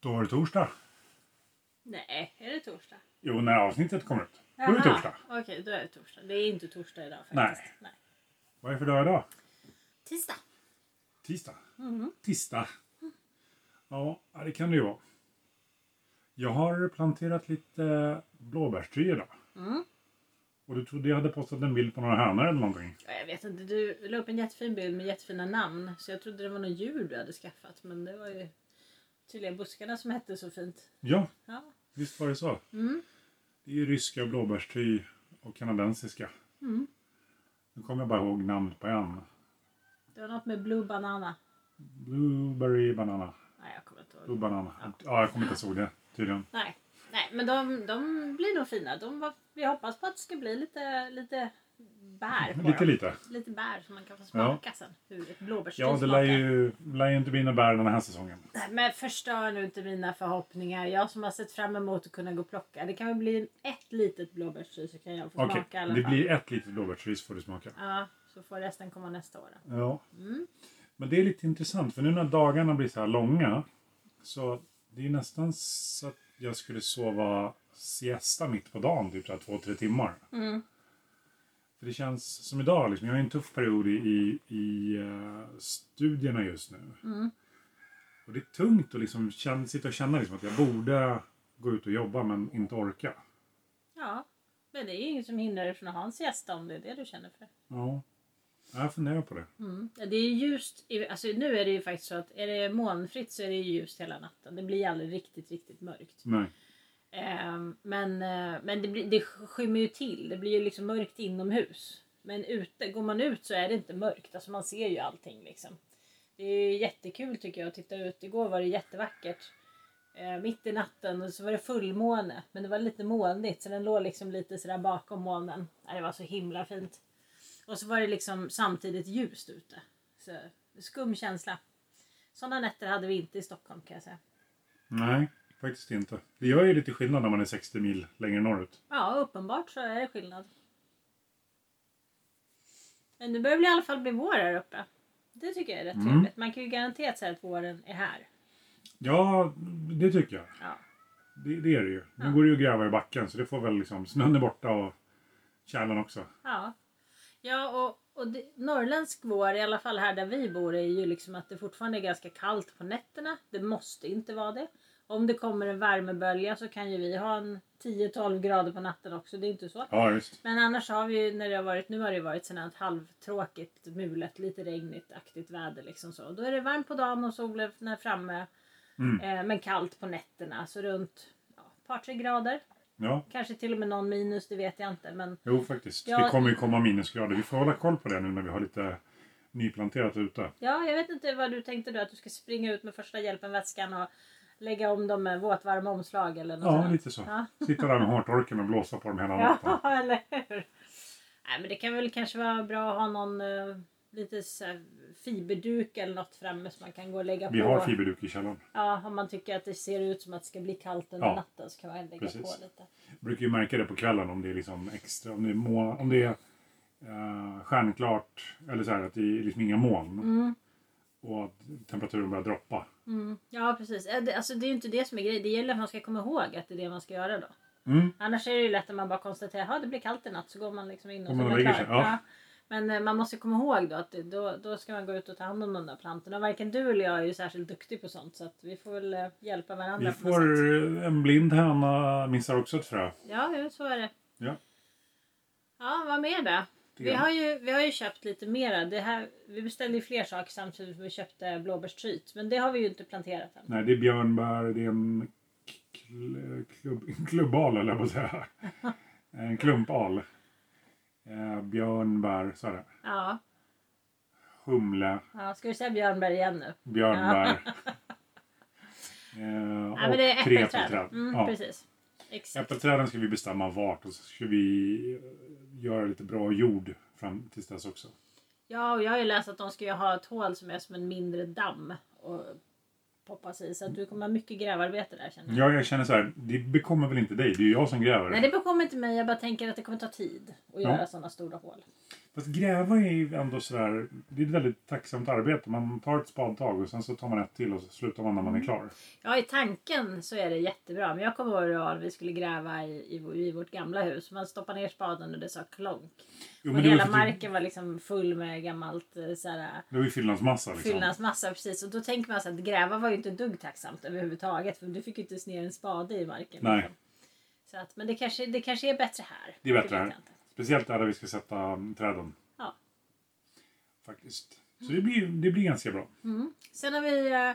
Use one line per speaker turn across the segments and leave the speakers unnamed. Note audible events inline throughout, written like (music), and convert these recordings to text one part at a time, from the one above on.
Då var det torsdag.
Nej, är det torsdag?
Jo, när avsnittet kommer ut. Då är det
Jaha,
torsdag.
Okej, då är det torsdag. Det är inte torsdag idag
Nej.
faktiskt. Nej.
Vad är det för dag idag?
Tisdag.
Tisdag.
Mhm.
Tisdag. Ja, ja, det kan det ju vara. Jag har planterat lite blåbärstry idag.
Mm.
Och du trodde jag hade postat en bild på några hönor eller någonting?
Ja, jag vet inte, du la upp en jättefin bild med jättefina namn. Så jag trodde det var någon djur du hade skaffat. Men det var ju tydligen buskarna som hette så fint.
Ja,
Ja.
visst var det så.
Mm.
Det är ju ryska blåbärstry och kanadensiska.
Mm.
Nu kommer jag bara ihåg namnet på en.
Det var något med Blue Banana.
Blueberry banana.
Nej, jag kommer inte ihåg.
Blue banana. Ja, jag kommer inte ens ihåg det tydligen.
Nej, nej men de, de blir nog fina. De, var- vi hoppas på att det ska bli lite, lite bär på
Lite
dem.
lite.
Lite bär som man kan få smaka sen. Hur ett blåbärsstil
Ja, det lär ju, lär ju inte bli några bär den här säsongen.
Nej, Men förstör nu inte mina förhoppningar. Jag som har sett fram emot att kunna gå och plocka. Det kan väl bli ett litet blåbärsstil så kan jag få
Okej,
smaka i alla
det
fall.
blir ett litet blåbärsris får du smaka.
Ja, så får resten komma nästa år. då.
Ja.
Mm.
Men det är lite intressant för nu när dagarna blir så här långa så det är nästan så att jag skulle sova siesta mitt på dagen, typ så här två, tre timmar.
Mm.
För det känns som idag, liksom, jag har en tuff period i, i, i eh, studierna just nu.
Mm.
Och det är tungt att liksom känna, sitta och känna liksom att jag borde gå ut och jobba men inte orka.
Ja, men det är ju inget som hindrar dig från att ha en siesta om det är det du känner för.
Ja, jag funderar på det.
Mm. Ja, Det är ju ljust, i- alltså nu är det ju faktiskt så att är det molnfritt så är det ju ljust hela natten. Det blir aldrig riktigt, riktigt mörkt.
Nej.
Ehm, men eh, men det, blir, det skymmer ju till, det blir ju liksom mörkt inomhus. Men ute, går man ut så är det inte mörkt, alltså man ser ju allting liksom. Det är ju jättekul tycker jag att titta ut. Igår var det jättevackert. Eh, mitt i natten och så var det fullmåne, men det var lite molnigt så den låg liksom lite sådär bakom molnen. Ja, det var så himla fint. Och så var det liksom samtidigt ljust ute. Så, skum känsla. Sådana nätter hade vi inte i Stockholm kan jag säga.
Nej, faktiskt inte. Det gör ju lite skillnad när man är 60 mil längre norrut.
Ja, uppenbart så är det skillnad. Men nu börjar det i alla fall bli vår här uppe. Det tycker jag är rätt
Mm.
trevligt. Man kan ju garanterat säga att våren är här.
Ja, det tycker jag.
Ja.
Det, det är det ju. Nu
Ja.
går det ju att gräva i backen så det får väl liksom snön är borta och kärlen också.
Ja, ja och, och det, norrländsk vår, i alla fall här där vi bor, är ju liksom att det fortfarande är ganska kallt på nätterna. Det måste inte vara det. Om det kommer en värmebölja så kan ju vi ha en 10-12 grader på natten också. Det är inte så.
Ja, just.
Men annars har vi ju när det har varit, nu har det varit sådant halvtråkigt, mulet, lite regnigt aktigt väder liksom så. Då är det varmt på dagen och solen är framme.
Mm.
Eh, men kallt på nätterna, så runt ja, ett par tre grader.
Ja,
Kanske till och med någon minus, det vet jag inte. Men
jo faktiskt.
Ja.
Det kommer ju komma minusgrader. Vi får hålla koll på det nu när vi har lite nyplanterat ute.
ja, jag vet inte vad du tänkte då, att du ska springa ut med första hjälpen-väskan och lägga om dem med våtvarma omslag eller något
Ja,
sådant.
lite så.
Ja.
Sitta där med hårtorken och blåsa på dem hela natten.
(laughs) Ja, eller hur? Nej, men det kan väl kanske vara bra att ha någon eh, lite så här fiberduk eller något framme som man kan gå och lägga
Vi
på.
har fiberduk i källaren.
Ja, om man tycker att det ser ut som att det ska bli kallt under
Ja,
natten så kan man lägga
precis.
på lite.
brukar ju märka det på kvällen om det är liksom extra, om det är, må, om det är eh, stjärnklart eller så här att det är liksom inga moln.
Mm.
Och att temperaturen börjar droppa.
Mm. Ja, precis. Eh, det- Alltså, det är ju inte det som är grejen. Det gäller att man ska komma ihåg att det är det man ska göra då.
Mm.
Annars är det ju lätt att man bara konstaterar att det blir kallt i natt så går man liksom in och
Går
så
man och
är man
lägger
klar.
sig, ja.
Men eh, man måste komma ihåg då att det, då, då ska man gå ut och ta hand om de där plantorna. Och Varken du eller jag är ju särskilt duktig på sånt så att vi får väl eh, hjälpa varandra
Vi
på något sätt.
får, en blind höna missar också ett frö.
Ja, jo, så är det.
Ja.
Ja, vad mer då?
Det
Vi
gör
har, ju, vi har ju köpt lite mera. Det här, vi beställde ju fler saker samtidigt som vi köpte blåbärstryt. Men det har vi ju inte planterat än.
Nej, det är björnbär, det är en kl- klubb, en klubbal eller vad
(laughs)
säga. En klumpal. Eh, björnbär, så är det.
Ja,
Humle,
ja, ska du säga björnbär igen nu?
björnbär. Eh,
Ja, men det är
och tre
äppelträd.
äppelträd.
Mm,
Ja.
Precis. Exakt.
Äppelträden ska vi bestämma vart och så ska vi eh, göra lite bra jord fram tills dess också.
Ja, och jag har ju läst att de ska ju ha ett hål som är som en mindre damm och poppas i. Så att du kommer ha mycket grävarbete där känner jag.
Ja, jag känner så här, det bekommer väl inte dig, det är ju jag som gräver.
Nej, det bekommer inte mig. Jag bara tänker att det kommer ta tid att
Mm. Ja.
göra sådana stora hål.
Fast gräva är ju ändå sådär, det är ett väldigt tacksamt arbete. Man tar ett spadtag och sen så tar man ett till och så slutar man när
Mm.
man är klar.
Ja, i tanken så är det jättebra. Men jag kommer ihåg att vi skulle gräva i, i, vår- i vårt gamla hus. Man stoppade ner spaden och det sa klonk.
Jo,
och
det var ju
hela
för- typ-
marken var liksom full med gammalt eh, så här,
Det var ju fyllnadsmassa liksom.
fyllnadsmassa. Precis. Och då tänker man så att gräva var ju inte ett dugg tacksamt överhuvudtaget. För du fick ju inte ens ner en spade i marken.
Nej.
liksom. Så att, men det kanske, det kanske är bättre här.
Det är bättre
vet
här.
jag inte.
Speciellt där vi ska sätta mm, träden.
Ja.
Faktiskt. Så det blir, det blir ganska bra.
Sen har vi eh,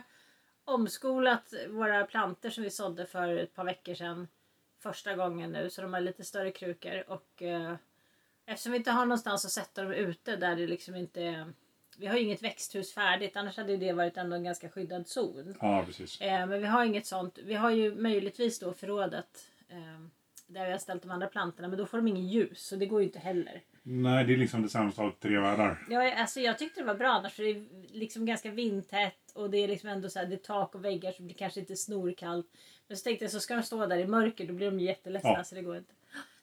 omskolat våra planter som vi sådde för ett par veckor sedan. Första gången nu, så de har lite större krukor. Och, eh, eftersom vi inte har någonstans att sätta dem ute där det liksom inte... Vi har ju inget växthus färdigt, annars hade ju det varit ändå en ganska skyddad zon.
Ja, precis.
Eh, men vi har inget sånt. Vi har ju möjligtvis då förrådet eh, där vi har ställt de andra plantorna, men då får de ingen ljus, så det går ju inte heller.
Nej, det är liksom det sämsta av tre världar.
Ja, jag- alltså jag tyckte det var bra annars för det är liksom ganska vindtätt och det är liksom ändå så här, det är tak och väggar så det blir kanske inte snorkallt. Men så tänkte jag så ska de stå där i mörker då blir de jätteledsna
Ja.
så det går inte.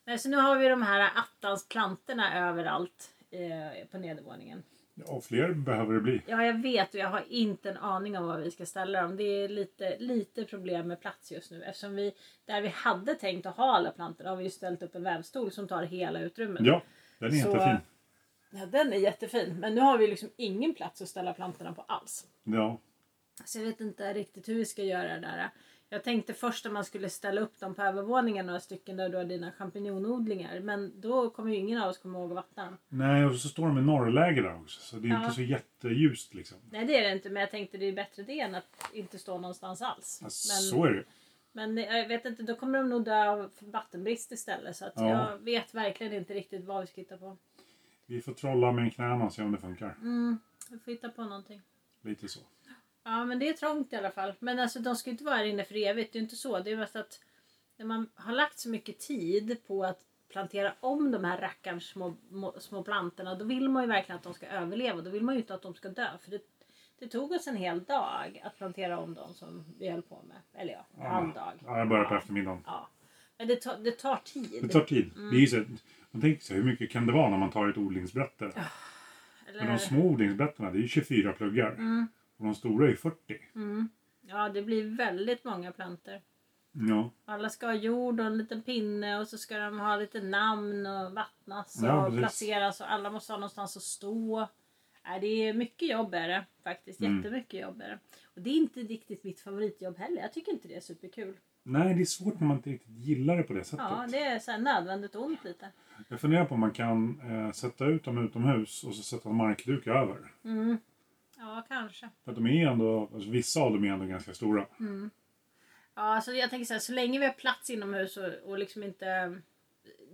Nej, så nu har vi de här attans plantorna överallt eh, på nedervåningen.
Och fler behöver det bli.
Ja, jag vet och jag har inte en aning om var vi ska ställa dem. Det är lite, lite problem med plats just nu eftersom vi där vi hade tänkt att ha alla plantorna har vi ju ställt upp en vävstol som tar hela utrymmet.
Ja, den är
Så-
jättefin.
Ja, den är jättefin. Men nu har vi liksom ingen plats att ställa plantorna på alls.
Ja.
Så Alltså, jag vet inte riktigt hur vi ska göra det där. Jag tänkte först om man skulle ställa upp dem på övervåningen några stycken där du har dina champinjonodlingar. Men då kommer ju ingen av oss komma ihåg att vattna dem.
Nej, och så står de i norrläge där också. Så det är
Ja.
inte så jätteljust liksom.
Nej det är det inte men jag tänkte det är bättre det än att inte stå någonstans alls.
Ja,
men,
Så är det
men eh, jag vet inte, då kommer de nog dö av vattenbrist istället. Så att
Ja.
jag vet verkligen inte riktigt vad vi ska hitta på.
Vi får trolla med knäna och se om det funkar.
Mm, vi får hitta på någonting.
Lite så.
Ja men det är trångt i alla fall. Men alltså de ska ju inte vara här inne för evigt. Det är ju inte så. Det är mest att när man har lagt så mycket tid på att plantera om de här rackarns små, må- små plantorna. Då vill man ju verkligen att de ska överleva. Då vill man ju inte att de ska dö. För det, det tog oss en hel dag att plantera om dem som vi höll på med. Eller ja, en
Ja.
halv dag.
Ja, jag börjar på eftermiddagen.
Ja. Men det, tar- det mm. tar tid.
Det tar tid. Det är ju så, man tänker sig hur mycket kan det vara när man tar ett odlingsbrette? Men
Eller,
de små odlingsbrätterna, det är ju 24 pluggar.
Mm.
Och de stora är ju 40.
ja, det blir väldigt många plantor.
Ja.
Alla ska ha jord och en liten pinne och så ska de ha lite namn och vattnas och
Ja, precis.
placeras och alla måste ha någonstans att stå. Nej, det är mycket jobb är det faktiskt.
Mm.
Jättemycket jobb är det. Och det är inte riktigt mitt favoritjobb heller. Jag tycker inte det är superkul.
Nej, det är svårt när man inte riktigt gillar det på det sättet.
Ja, det är så här nödvändigt ont lite.
Jag funderar på om man kan eh, sätta ut dem utomhus och så sätta en markduk över.
Mm. Ja, kanske.
För att de är ändå, alltså, vissa av dem är ändå ganska stora.
Ja, alltså jag tänker så här, så länge vi har plats inomhus och, och liksom inte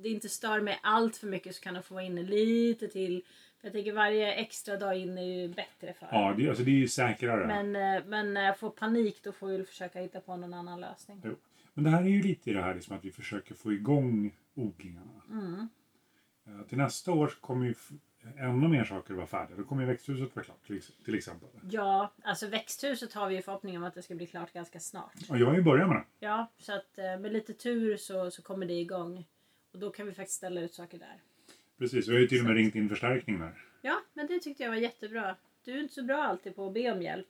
det inte stör mig allt för mycket så kan de få vara inne lite till. För jag tänker varje extra dag inne är ju bättre för
Ja, det, alltså, det är ju säkrare.
Men, eh, men när jag får panik då får jag väl försöka hitta på någon annan lösning.
Jo. Men det här är ju lite i det här liksom att vi försöker få igång odlingarna.
Mm.
Eh, Till nästa år så kommer ju f- ännu mer saker vara färdiga. Då kommer ju växthuset vara klart till, till exempel.
Ja, alltså växthuset har vi ju förhoppning om att det ska bli klart ganska snart.
Och jag har ju börjat med det.
Ja, så att eh, med lite tur så, så kommer det igång. Och då kan vi faktiskt ställa ut saker där.
Precis, vi har ju till och med ringt in förstärkning där.
Ja, men det tyckte jag var jättebra. Du är inte så bra alltid på att be om hjälp.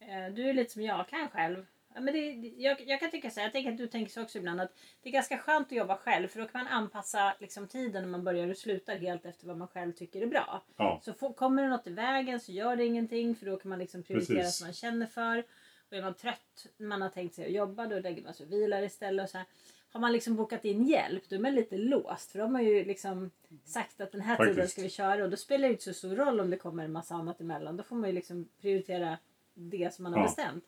Eh, Du är lite som jag, kan själv. Ja, men det, det- jag, jag kan tycka så här, jag tänker att du tänker så också ibland, att det är ganska skönt att jobba själv för då kan man anpassa liksom, tiden när man börjar och slutar helt efter vad man själv tycker är bra.
Ja,
Så får, kommer det något i vägen så gör det ingenting för då kan man liksom prioritera
Precis.
som man känner för. Och är man trött när man har tänkt sig att jobba då lägger man sig och vilar istället. Och så här. Har man liksom bokat in hjälp då är man lite låst för då har man ju liksom sagt att den här tiden
Faktiskt.
ska vi köra och då spelar det ju inte så stor roll om det kommer en massa annat emellan. Då får man ju liksom prioritera det som man har
Ja.
bestämt.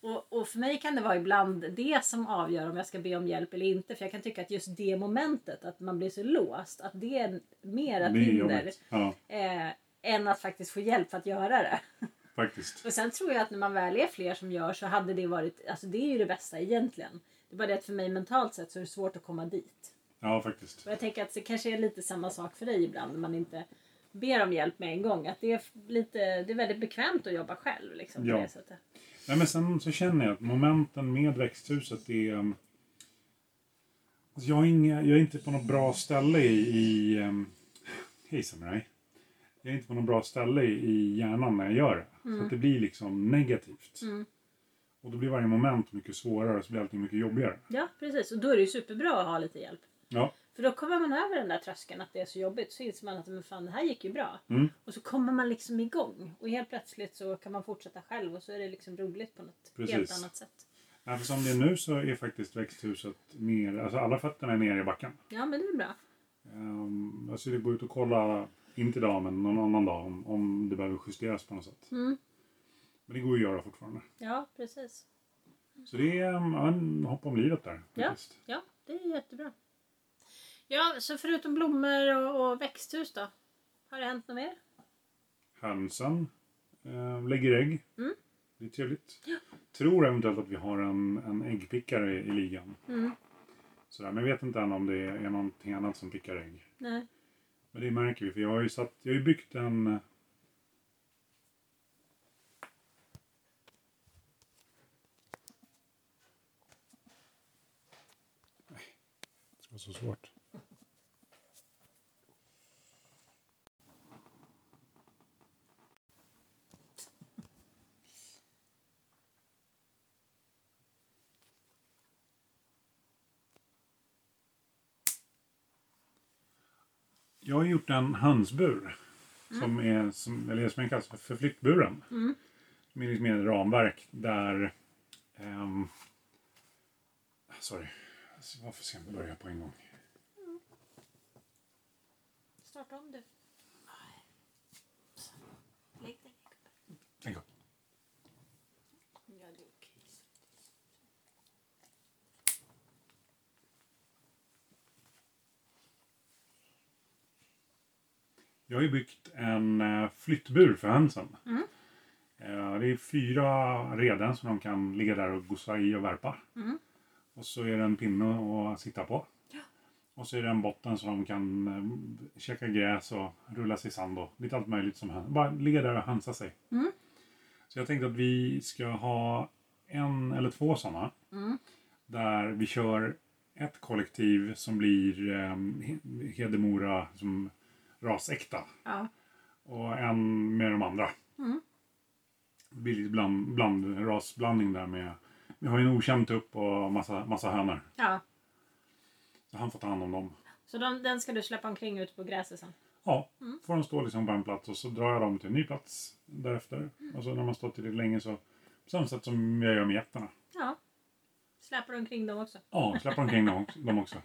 Och, och för mig kan det vara ibland det som avgör om jag ska be om hjälp eller inte. För jag kan tycka att just det momentet, att man blir så låst, att det är mer
det
ett
är
hinder
jobbigt. Ja,
eh, än att faktiskt få hjälp att göra det. (laughs)
faktiskt.
Och sen tror jag att när man väl är fler som gör så hade det varit, alltså det är ju det bästa egentligen. Det är bara det att för mig mentalt sett så är det svårt att komma dit.
Ja, faktiskt.
Och jag tänker att det kanske är lite samma sak för dig ibland när man inte ber om hjälp med en gång. Att det är lite, det är väldigt bekvämt att jobba själv liksom.
Ja.
På det sättet.
Nej, men sen så känner jag att momenten med växthuset är... ehm, Alltså jag, är inga, jag är inte på något bra ställe i, i ehm, Hej Samurai. Jag är inte på något bra ställe i- i hjärnan när jag gör det. Så
Mm.
att det blir liksom negativt.
Mm.
Och då blir varje moment mycket svårare och så blir allting mycket jobbigare.
Ja, precis. Och då är det ju superbra att ha lite hjälp.
Ja.
För då kommer man över den där tröskeln att det är så jobbigt. Så inser man att men fan, det här gick ju bra.
Mm.
Och så kommer man liksom igång. Och helt plötsligt så kan man fortsätta själv och så är det liksom roligt på något helt
Precis.
annat sätt.
Ja, för som det är nu så är faktiskt växthuset nere, alltså alla fötterna är nere i backen.
Ja, men det är bra.
Um, alltså det går ut och kolla, inte idag men någon annan dag om, om det behöver justeras på något sätt.
Mm.
Men det går ju att göra fortfarande.
Ja, precis.
Så det är um, ja, en hopp om livet där.
Ja.
faktiskt.
Ja, det är jättebra. Ja, så förutom blommor och, och växthus då? Har det hänt något mer?
Hönsen eh, lägger ägg.
Mm.
Det är trevligt. Tror eventuellt att vi har en, en äggpickare i, i ligan.
Mm.
Sådär, men jag vet inte än om det är någonting annat som pickar ägg.
Nej.
Men det märker vi för jag har ju, satt, jag har ju byggt en... Nej, Det var så svårt. Jag har gjort en hönsbur. Som är, som, eller som den kallas för förflyttburen.
Mm.
Med liksom ett ramverk där... Um, sorry. Alltså, Varför ska jag börja på en gång?
Starta om du. Lägg dig.
Lägg upp.
Ja, det är okej.
Jag har ju byggt en eh, flyttbur för hönsen.
Mm.
Eh, Det är fyra reden som de kan ligga där och gosa i och värpa.
Mm.
Och så är det en pinne att sitta på.
Ja.
Och så är det en botten som de kan eh, käka gräs och rulla sig i sand och lite allt möjligt som höns. Bara ligga där och hönsa sig.
Mm.
Så jag tänkte att vi ska ha en eller två sådana.
Mm.
Där vi kör ett kollektiv som blir eh, Hedemora som rasäkta.
Ja.
Och en med de andra.
Mm.
Det blir lite bland, bland, rasblandning där med... Vi har ju en okänd tupp och massa, massa hönor.
ja.
Så han får ta hand om dem.
Så de, den ska du släppa omkring ute på gräset sen?
Ja,
Mm.
får de stå liksom på en plats och så drar jag dem till en ny plats därefter.
Mm.
Och så när man stått till det länge så... På samma sätt som jag gör med getterna.
Ja. Släpar omkring dem också?
Ja, släpper omkring dem, dem också.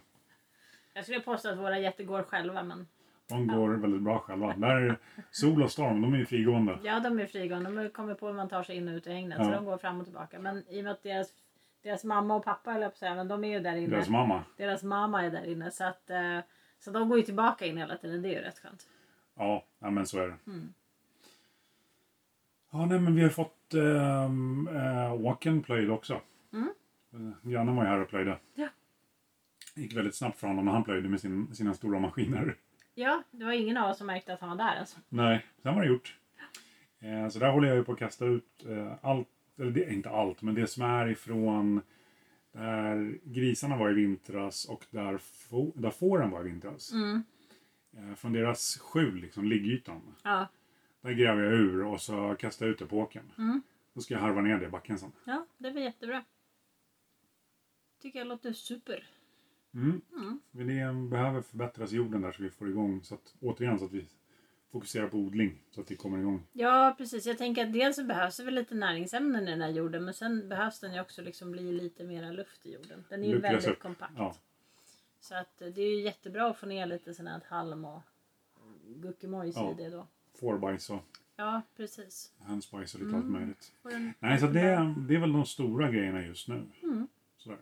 Jag skulle påstå att våra jätter går själva men
De går väldigt bra själva. Där sol och storm, de är ju frigående.
ja de är frigående. De kommer på hur man tar sig in och ut i hägnet så
Ja.
de går fram och tillbaka. Men i och med att deras, deras mamma och pappa eller säga, men de är ju där inne.
Deras
Deras,
mamma.
mamma är där inne så att eh, så de går ju tillbaka in hela tiden. Det är ju rätt skönt.
Ja, ja men så är det.
Mm.
Ja, nej men vi har fått eh, eh, walk-in plöjd också.
Mm.
Eh, Janne var ju här och plöjde.
Ja.
Det gick väldigt snabbt för honom när han plöjde med sin, sina stora maskiner.
Ja, det var ingen av oss som märkte att han var där alltså.
Nej, sen var det gjort. Eh, så där håller jag ju på att kasta ut eh, allt, eller det, inte allt, men det som är ifrån där grisarna var i vintras och där, få, där fåren var i vintras.
Mm.
Eh, från deras skjul, liksom liggytan.
Ja.
Där gräver jag ur och så kastar jag ut det på åkern.
Mm.
Då ska jag harva ner det i backen sen.
ja, det var jättebra. Tycker jag låter super.
Mm.
Mm.
Men det behöver förbättras i jorden där så vi får igång, så att, återigen så att vi fokuserar på odling så att det kommer igång.
Ja precis, jag tänker att dels så behövs det väl lite näringsämnen i den här jorden men sen behövs den ju också liksom bli lite mera luft i jorden. Den är ju
Luckras
väldigt
upp,
kompakt.
ja.
Så att eh, det är ju jättebra att få ner lite sån här halm och guckimojs
Ja.
i det då.
Fårbajs och
Ja precis.
hönsbajs och lite
Mm.
allt möjligt.
Och den,
Nej, så det, det är väl de stora grejerna just nu.
Mm.
Sådär.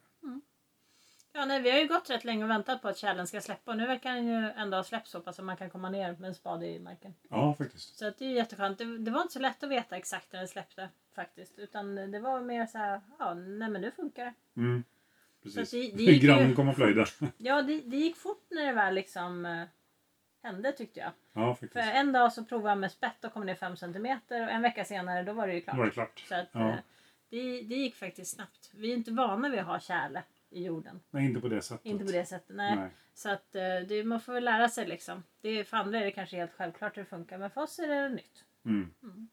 ja nej, vi har ju gått rätt länge och väntat på att tjälen ska släppa och nu verkar den ju ändå ha släppt så pass att man kan komma ner med en spade i marken.
Ja, faktiskt.
Så att det är ju jätteskönt. Det, det var inte så lätt att veta exakt när den släppte faktiskt. Utan det var mer så här, ja nej men nu funkar det.
Mm.
Så att
Precis. (laughs)
det, det gick ju...
Grannen kom och plöjde.
Ja, det, det gick fort när det väl liksom eh, hände tyckte jag.
(laughs) Ja,
För
faktiskt.
en dag så provade jag med spett och kom ner 5 cm och en vecka senare då var det ju
Nu var det
klart.
klart.
Så att,
Ja.
eh, det, det gick faktiskt snabbt. Vi är inte vana vid att ha kärle i jorden.
Nej, inte på det sättet.
Inte på det sättet, nej.
Nej.
Så att eh, det, man får väl lära sig liksom. Det, för andra är det kanske helt självklart hur det funkar men för oss är det nytt.
Mm.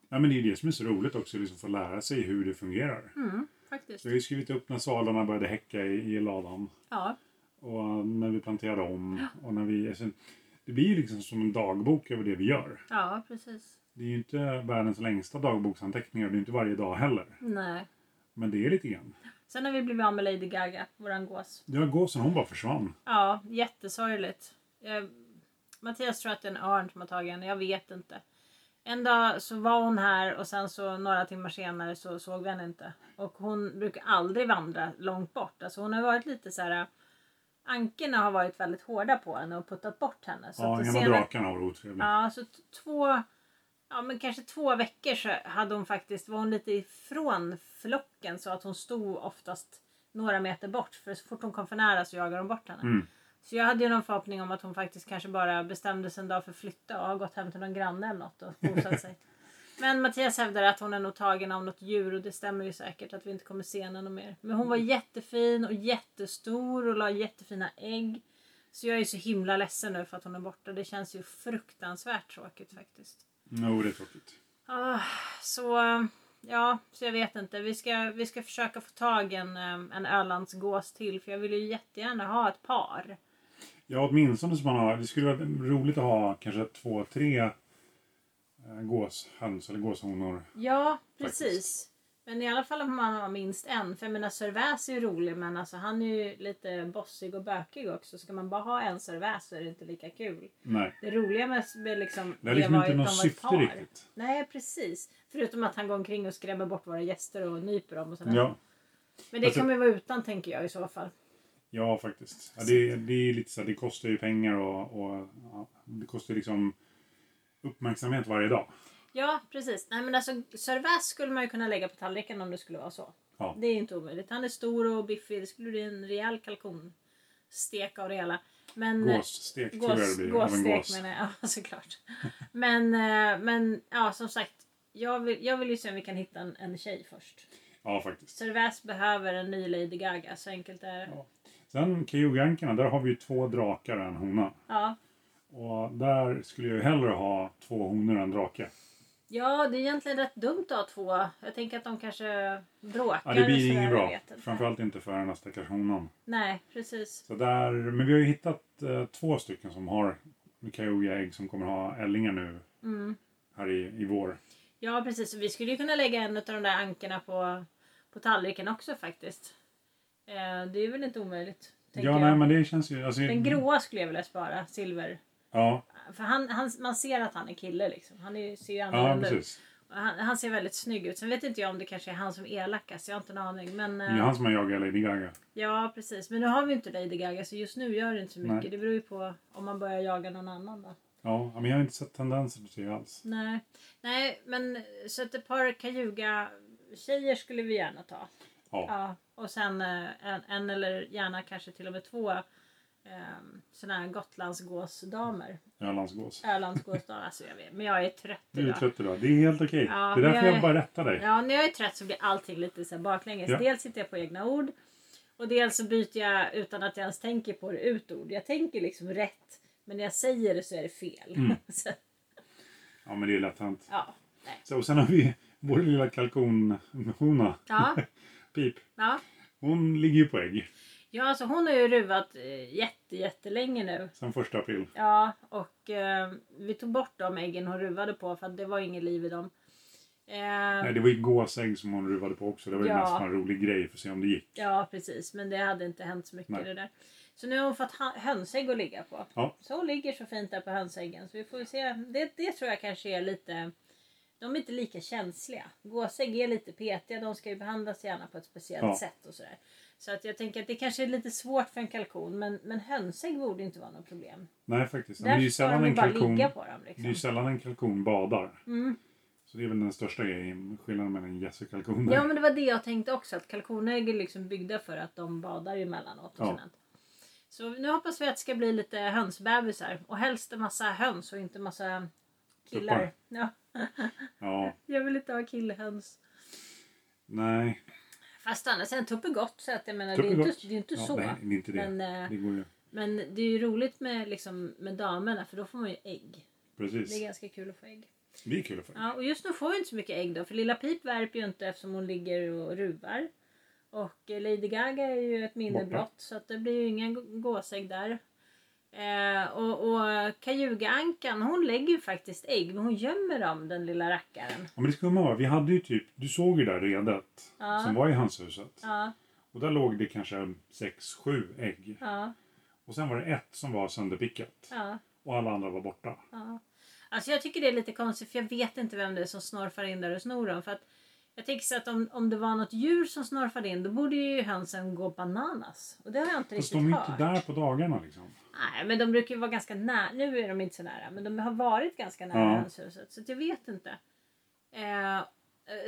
Ja, men det är ju det som är så roligt också, liksom få lära sig hur det fungerar.
Mm, faktiskt.
Så jag har ju skrivit upp när svalarna började häcka i, i ladan
Ja,
och eh, när vi planterade om. Och när vi, alltså, det blir ju liksom som en dagbok över det vi gör.
ja precis.
Det är ju inte världens längsta dagboksanteckningar, det är ju inte varje dag heller.
Nej.
Men det är lite grann.
Sen har vi blivit av med Lady Gaga, våran gås.
Jag går sen hon bara försvann.
Ja, jättesorgligt. Jag, Mattias tror att det är en örn som har tagit henne, jag vet inte. En dag så var hon här och sen så några timmar senare så såg vi henne inte. Och hon brukar aldrig vandra långt bort. Alltså hon har varit lite så här. Ankorna har varit väldigt hårda på henne och puttat bort henne. Så
Ja,
att det
gamla
sena-
drakarna var otrevliga.
Ja, så t- två, ja men kanske två veckor så hade hon faktiskt, var hon lite ifrån flocken så att hon stod oftast några meter bort. För så fort hon kom för nära så jagade de bort henne.
Mm.
Så jag hade ju någon förhoppning om att hon faktiskt kanske bara bestämde sig en dag för att flytta och har gått hem till någon granne eller något och bosatt sig. Men Mattias hävdar att hon är nog tagen av något djur och det stämmer ju säkert att vi inte kommer se henne någon mer. Men hon var jättefin och jättestor och la jättefina ägg. Så jag är så himla ledsen nu för att hon är borta. Det känns ju fruktansvärt tråkigt faktiskt.
Jo, det är tråkigt.
Ah, så ja, så jag vet inte. Vi ska, vi ska försöka få tag i en, eh, en Ölandsgås till för jag vill ju jättegärna ha ett par.
Ja, åtminstone som man har. Det skulle vara roligt att ha kanske två, tre eh, gåshöns eller gåshonor.
Ja,
Faktiskt.
precis. Men i alla fall om man har minst en. För jag menar Servais är ju rolig men alltså, han är ju lite bossig och bökig också. Ska man bara ha en Servais så är det inte lika kul.
Nej,
Det roliga med med liksom,
det är liksom
var
inte
ju att
något
de var ett
syfte
par.
riktigt.
Nej, precis. Förutom att han går omkring och skrämmer bort våra gäster och nyper dem och sådär.
Ja,
Men det
Alltså-
kan vi vara utan tänker jag i så fall.
ja faktiskt. Ja, det, det är lite så här, det kostar ju pengar och, och ja, det kostar ju liksom uppmärksamhet varje dag.
Ja, precis. Nej men alltså Servais skulle man ju kunna lägga på tallriken om det skulle vara så.
Ja.
Det är inte omöjligt. Han är stor och biffig. Det skulle bli en rejäl kalkonstek av det hela. Men, eh,
Gåsstek tror jag det
Gås,
blir. av en
gåsstek
gås.
menar jag, (laughs) ja, såklart. Men, eh, men ja, som sagt. Jag vill, jag vill ju se om vi kan hitta en, en tjej först.
Ja, faktiskt.
Servais behöver en ny Lady Gaga, så enkelt är det.
Ja. Sen Kyogankerna, där har vi ju två drakar och en hona.
Ja.
Och där skulle jag ju hellre ha två honor än drake.
ja, det är egentligen rätt dumt att ha två. Jag tänker att de kanske bråkar.
Ja, det
och
blir
sådär,
inget
jag
bra.
vet inte.
Framförallt inte för den här stackars honan.
Nej, precis.
Så där, men vi har ju hittat eh, två stycken som har Kayoga-ägg som kommer ha ällingar nu
Mm.
här i, i vår.
Ja, precis. Vi skulle ju kunna lägga en av de där ankorna på, på tallriken också faktiskt. Eh, det är väl inte omöjligt. tänker
Ja,
jag.
nej men det känns ju... Alltså,
Den gråa skulle jag vilja spara, silver.
Ja,
För han, han, man ser att han är kille liksom. Han är, ser ju
ja
annorlunda ut.
precis.
Och Han, han ser väldigt snygg ut. Sen vet inte jag om det kanske är han som är elakast. Jag har inte en aning. Men,
Det
eh,
är ju han som har jagat Lady Gaga.
Ja precis. Men nu har vi ju inte Lady Gaga så just nu gör det inte så mycket.
Nej.
Det beror ju på om man börjar jaga någon annan då.
Ja, men jag har inte sett tendenser till det alls.
Nej, Nej men så att ett par kajuga tjejer skulle vi gärna ta.
Ja,
Ja. Och sen eh, en, en eller gärna kanske till och med två eh, sådana här Gotlandsgåsdamer.
Ölandsgås.
Ölandsgåsdamer. Alltså jag vet, men jag är trött
Du är
idag.
trött idag. Det är helt okej.
Ja,
det är
men
därför
jag
jag
är-
bara rättar dig.
Ja, när jag är trött så blir allting lite så här baklänges.
Ja.
Dels sitter jag på egna ord och dels så byter jag utan att jag ens tänker på det ut ord. Jag tänker liksom rätt men när jag säger det så är det fel.
Mm.
(laughs) så,
Ja, men det är lätt hänt.
ja.
Så, och sen har vi (laughs) vår lilla kalkonhona,
Ja,
Pip.
ja.
Hon ligger ju på ägg
ja, alltså hon har ju ruvat eh, jätte, jättelänge nu.
sen första april.
Ja, och eh, vi tog bort de äggen hon ruvade på för att det var inget liv i dem. Eh,
Nej, det var ju gåsägg som hon ruvade på också. Det var ju
Ja.
mest bara en rolig grej för att se om det gick.
Ja precis, men det hade inte hänt så mycket
Nej.
det där. Så nu har hon fått ha- hönsägg att ligga på.
Ja.
Så hon ligger så fint där på hönsäggen. Så vi får ju se. Det, det tror jag kanske är lite... De är inte lika känsliga. Gåsägg är lite petiga. De ska ju behandlas gärna på ett speciellt
Ja.
sätt och sådär. Så att jag tänker att det kanske är lite svårt för en kalkon. Men, men hönsägg borde inte vara något problem.
Nej, faktiskt. Men det
Där
är ju
ska de
sällan
ju
en
bara
kalkon...
ligga på dem.
Det är ju
Liksom.
sällan en kalkon badar.
Mm.
Så det är väl den största grejen, skillnaden mellan en gäss och kalkon.
Ja men det var det jag tänkte också. Att kalkonägg är liksom byggda för att de badar ju emellanåt.
Ja.
Och sådant. Så nu hoppas vi att det ska bli lite hönsbebisar. Och helst en massa höns och inte massa killar.
Tuppar.
Ja,
Ja,
jag vill inte ha killhöns.
nej.
Fast å andra sidan, tupp är gott. Så att jag menar,
Tupp
det är
är
inte,
gott.
det är inte
Ja,
så.
nej, det är inte det.
Men, eh,
Det går ju.
men det är ju roligt med, liksom, med damerna för då får man ju ägg. Det är
Precis.
ganska kul att få ägg.
Det är kul att få.
Ja, och just nu får vi inte så mycket ägg då för Lilla Pip värper ju inte eftersom hon ligger och ruvar. Och eh, Lady Gaga är ju ett minne
Borta.
blott så att det blir ju ingen gå- gåsägg där. Eh, och och Kajuga-ankan hon lägger ju faktiskt ägg men hon gömmer dem den lilla rackaren.
Ja, men det skumma var, vi hade ju typ, du såg ju där redet
Ja.
som var i hönshuset.
Ja,
Och där låg det kanske sex sju ägg.
ja,
Och sen var det ett som var sönderpickat.
ja.
Och alla andra var borta.
Ja. Alltså jag tycker det är lite konstigt för jag vet inte vem det är som snorfar in där och snor dem. För att jag tänker så att om, om det var något djur som snorfade in då borde ju hönsen gå bananas. Och det har jag inte
Fast
riktigt
de är ju
hört.
inte där på dagarna liksom.
Nej men de brukar ju vara ganska nära. Nu är de inte så nära men de har varit ganska nära
Ja.
hönshuset. Så att jag vet inte. Eh, eh,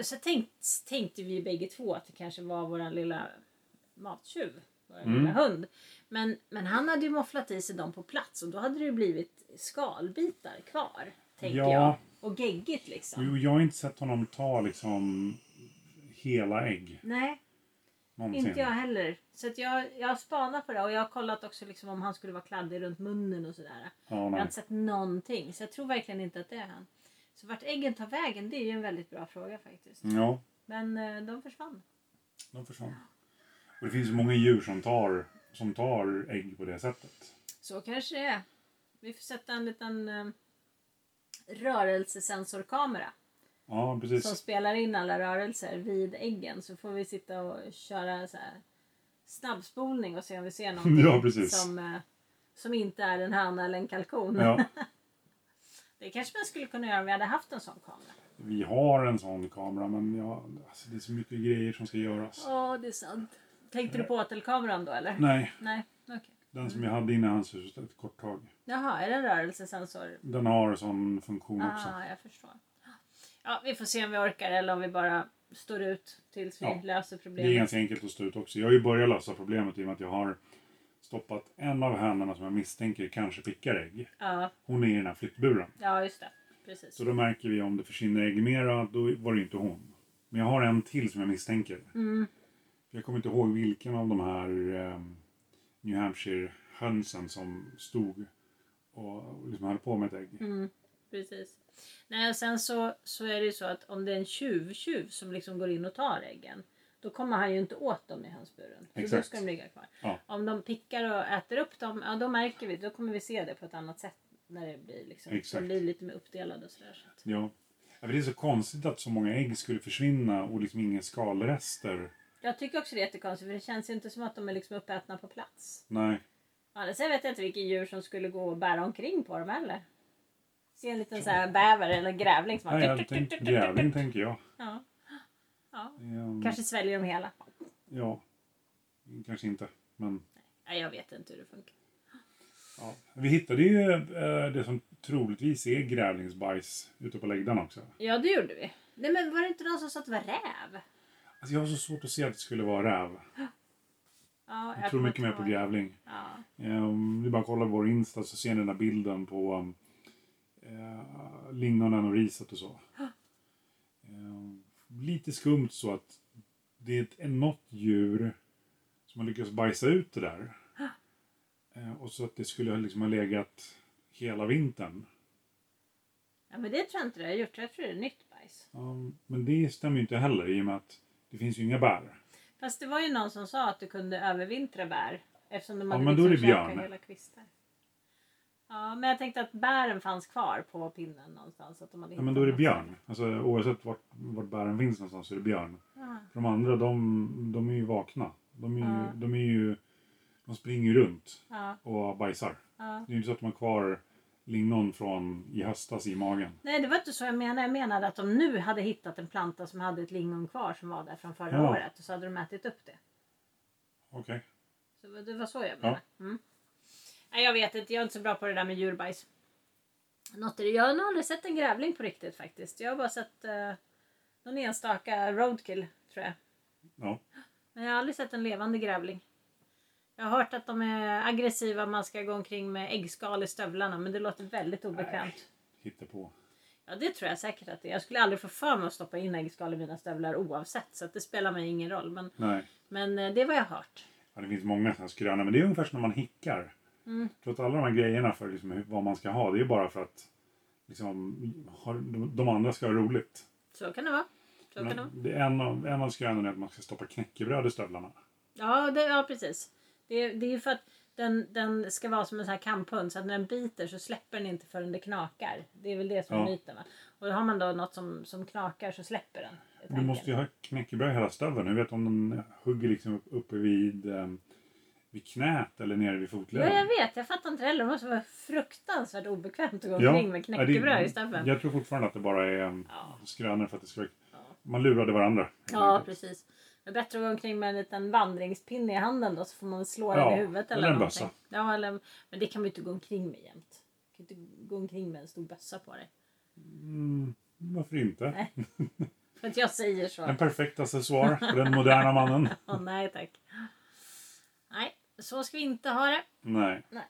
så tänkt, tänkte vi bägge två att det kanske var våran lilla mattjuv. Vår
Mm.
lilla hund. Men, men han hade ju mofflat i sig dem på plats och då hade det ju blivit skalbitar kvar. Tänker
Ja.
jag. Och geggigt liksom.
Jo, jag har inte sett honom ta liksom hela ägg
Nej,
någonsin.
inte jag heller. Så att jag, jag spanar på det och jag har kollat också liksom om han skulle vara kladdig runt munnen och sådär.
Ja,
Jag har
nej.
inte sett någonting så jag tror verkligen inte att det är han. Så vart äggen tar vägen det är ju en väldigt bra fråga faktiskt.
ja,
Men eh, de försvann.
de försvann. Och det finns ju många djur som tar, som tar ägg på det sättet.
Så kanske det är. Vi får sätta en liten eh, rörelsesensorkamera
Ja,
som
precis.
spelar in alla rörelser vid äggen så får vi sitta och köra så här snabbspolning och se om vi ser
(laughs)
någonting
Ja, precis.
som, eh, som inte är en höna eller en kalkon.
Ja,
(laughs) Det kanske man skulle kunna göra om vi hade haft en sån kamera.
vi har en sån kamera men jag, alltså, det är så mycket grejer som ska göras.
Ja, det är sant. Tänkte du på åtelkameran då eller?
Nej,
Nej, okej.
den som jag hade inne i hönshuset ett kort tag.
Jaha, är det en rörelsesensor?
Den har sån funktion Mm, också.
Ah, jag förstår. Ja, vi får se om vi orkar eller om vi bara står ut tills vi
Ja,
löser
Det är
problemet.
ganska enkelt att stå ut också. Jag har ju börjat lösa problemet i och med att jag har stoppat en av hönorna som jag misstänker kanske pickar ägg.
Ja,
Hon är i den här flyttburen.
ja, just det. Precis.
Så då märker vi om det försvinner ägg mera, då var det ju inte hon. Men jag har en till som jag misstänker.
Mm.
Jag kommer inte ihåg vilken av de här eh, New Hampshire-hönsen som stod och liksom höll på med ett ägg.
Mm, precis. Nej, och sen så, så är det ju så att om det är en tjuvtjuv som liksom går in och tar äggen. Då kommer han ju inte åt dem i hönsburen. Så då
Exakt.
ska de ligga kvar.
Ja.
Om de pickar och äter upp dem, ja då märker vi. Då kommer vi se det på ett annat sätt. När det blir liksom,
Exakt.
de blir lite mer uppdelade och sådär. Så att-
Ja. Ja, men Det är så konstigt att så många ägg skulle försvinna och liksom inga skalrester.
Jag tycker också det är jättekonstigt för det känns ju inte som att de är liksom uppätna på plats.
Nej.
Å andra sidan vet jag inte vilka djur som skulle gå och bära omkring på dem heller. Se en liten så här bäver eller grävling som bara...
Mm. Nej, jag tänkte, grävling tänker jag.
Ja. Ja.
Ehm,
Kanske sväljer de hela.
Ja. Kanske inte. Men
Nej, jag vet inte hur det funkar.
ja. Vi hittade ju eh, det som troligtvis är grävlingsbajs ute på läggdan också.
Ja, det gjorde vi. Nej, men var det inte någon som sa att det var räv?
Alltså jag har så svårt att se att det skulle vara räv.
Ja,
Jag tror
kommer
mycket mer
inte
på
ihåg.
grävling.
Ja.
Um, det är bara att kolla på vår Insta så ser ni den där bilden på um, eh, lingonen och riset och så. Ehm, lite skumt så att det är ett, en- något djur som har lyckats bajsa ut det där. Eh, och så att det skulle ha liksom ha legat hela vintern.
ja, men det tror jag inte det har gjort. Jag tror det är nytt bajs.
Um, men det stämmer ju inte heller i och med att det finns ju inga bär.
Fast det var ju någon som sa att du kunde övervintra bär. Eftersom de
Ja,
hade liksom
men då är det
käkat
björn.
hela kvistar. Ja, men jag tänkte att bären fanns kvar på pinnen någonstans. Att de hade
Ja, men
hittat
då är det
något
björn. Alltså, oavsett vart, vart bären finns någonstans så är det björn.
sätt. Ja.
För De andra, de, de är ju vakna. De, är ju,
Ja.
de, är ju, de springer ju runt
Ja,
och bajsar.
ja.
Det är ju inte så att de har kvar lingon från i höstas i magen.
Nej, det var inte så jag menade. Jag menade att de nu hade hittat en planta som hade ett lingon kvar som var där från förra
Ja.
året. Och så hade de ätit upp det.
Okej.
Så det var så jag menade. Mm. Nej, jag vet inte. Jag är inte så bra på det där med djurbajs. Något är det. Jag har nog aldrig sett en grävling på riktigt faktiskt. Jag har bara sett eh, någon enstaka roadkill, tror jag.
Ja.
Men jag har aldrig sett en levande grävling. Jag har hört att de är aggressiva, man ska gå omkring med äggskal i stövlarna, men det låter väldigt obekvämt.
Hitta på.
Ja det tror jag säkert att det är. Jag skulle aldrig få för mig att stoppa in äggskal i mina stövlar oavsett. Så att det spelar mig ingen roll. Men,
Nej.
men eh, det är vad jag har hört.
Ja, det finns många sådana skröna, men det är ungefär som när man hickar.
Mm.
Jag tror att alla de här grejerna för liksom hur, vad man ska ha, det är ju bara för att liksom, ha, de, de andra ska ha roligt.
Så kan det vara. Så kan det vara.
Men det är en, av, en av skrönorna är att man ska stoppa knäckebröd i stövlarna.
Ja, det, ja precis. Det, det är ju för att den, den ska vara som en sån här kamphund så att när den biter så släpper den inte förrän det knakar. Det är väl det som
Ja.
är myten va? Och har man då något som, som knakar så släpper den. är
Du
tanken.
måste ju ha knäckebröd i hela stöveln. Hur vet du om den hugger liksom upp, uppe vid, eh, vid knät eller nere vid
Ja,
fotleden?
jag vet. Jag fattar inte heller. Det måste vara fruktansvärt obekvämt att gå
Ja,
omkring med knäckebröd
det-
i stövlen.
Jag tror fortfarande att det bara är um,
Ja.
skrönor för att det ska...
Ja.
Man lurade varandra.
Ja, precis. Det är bättre att gå omkring med en liten vandringspinne i handen då så får man slå den
Ja,
i huvudet eller,
eller en
någonting.
bössa.
Ja, eller Men det kan man ju inte gå omkring med jämt. Du kan ju inte gå omkring med en stor bössa på dig. (laughs)
Mm, varför inte?
Nej. För att jag säger så.
En perfekt accessoar för den moderna mannen.
Åh nej tack. Nej, så ska vi inte ha det.
Nej.
Nej.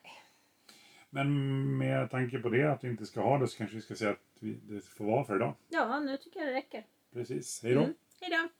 Men med tanke på det, att vi inte ska ha det, så kanske vi ska säga att vi, det får vara för idag.
Ja, nu tycker jag det räcker.
Precis. Hej då.
Mm. Hej då.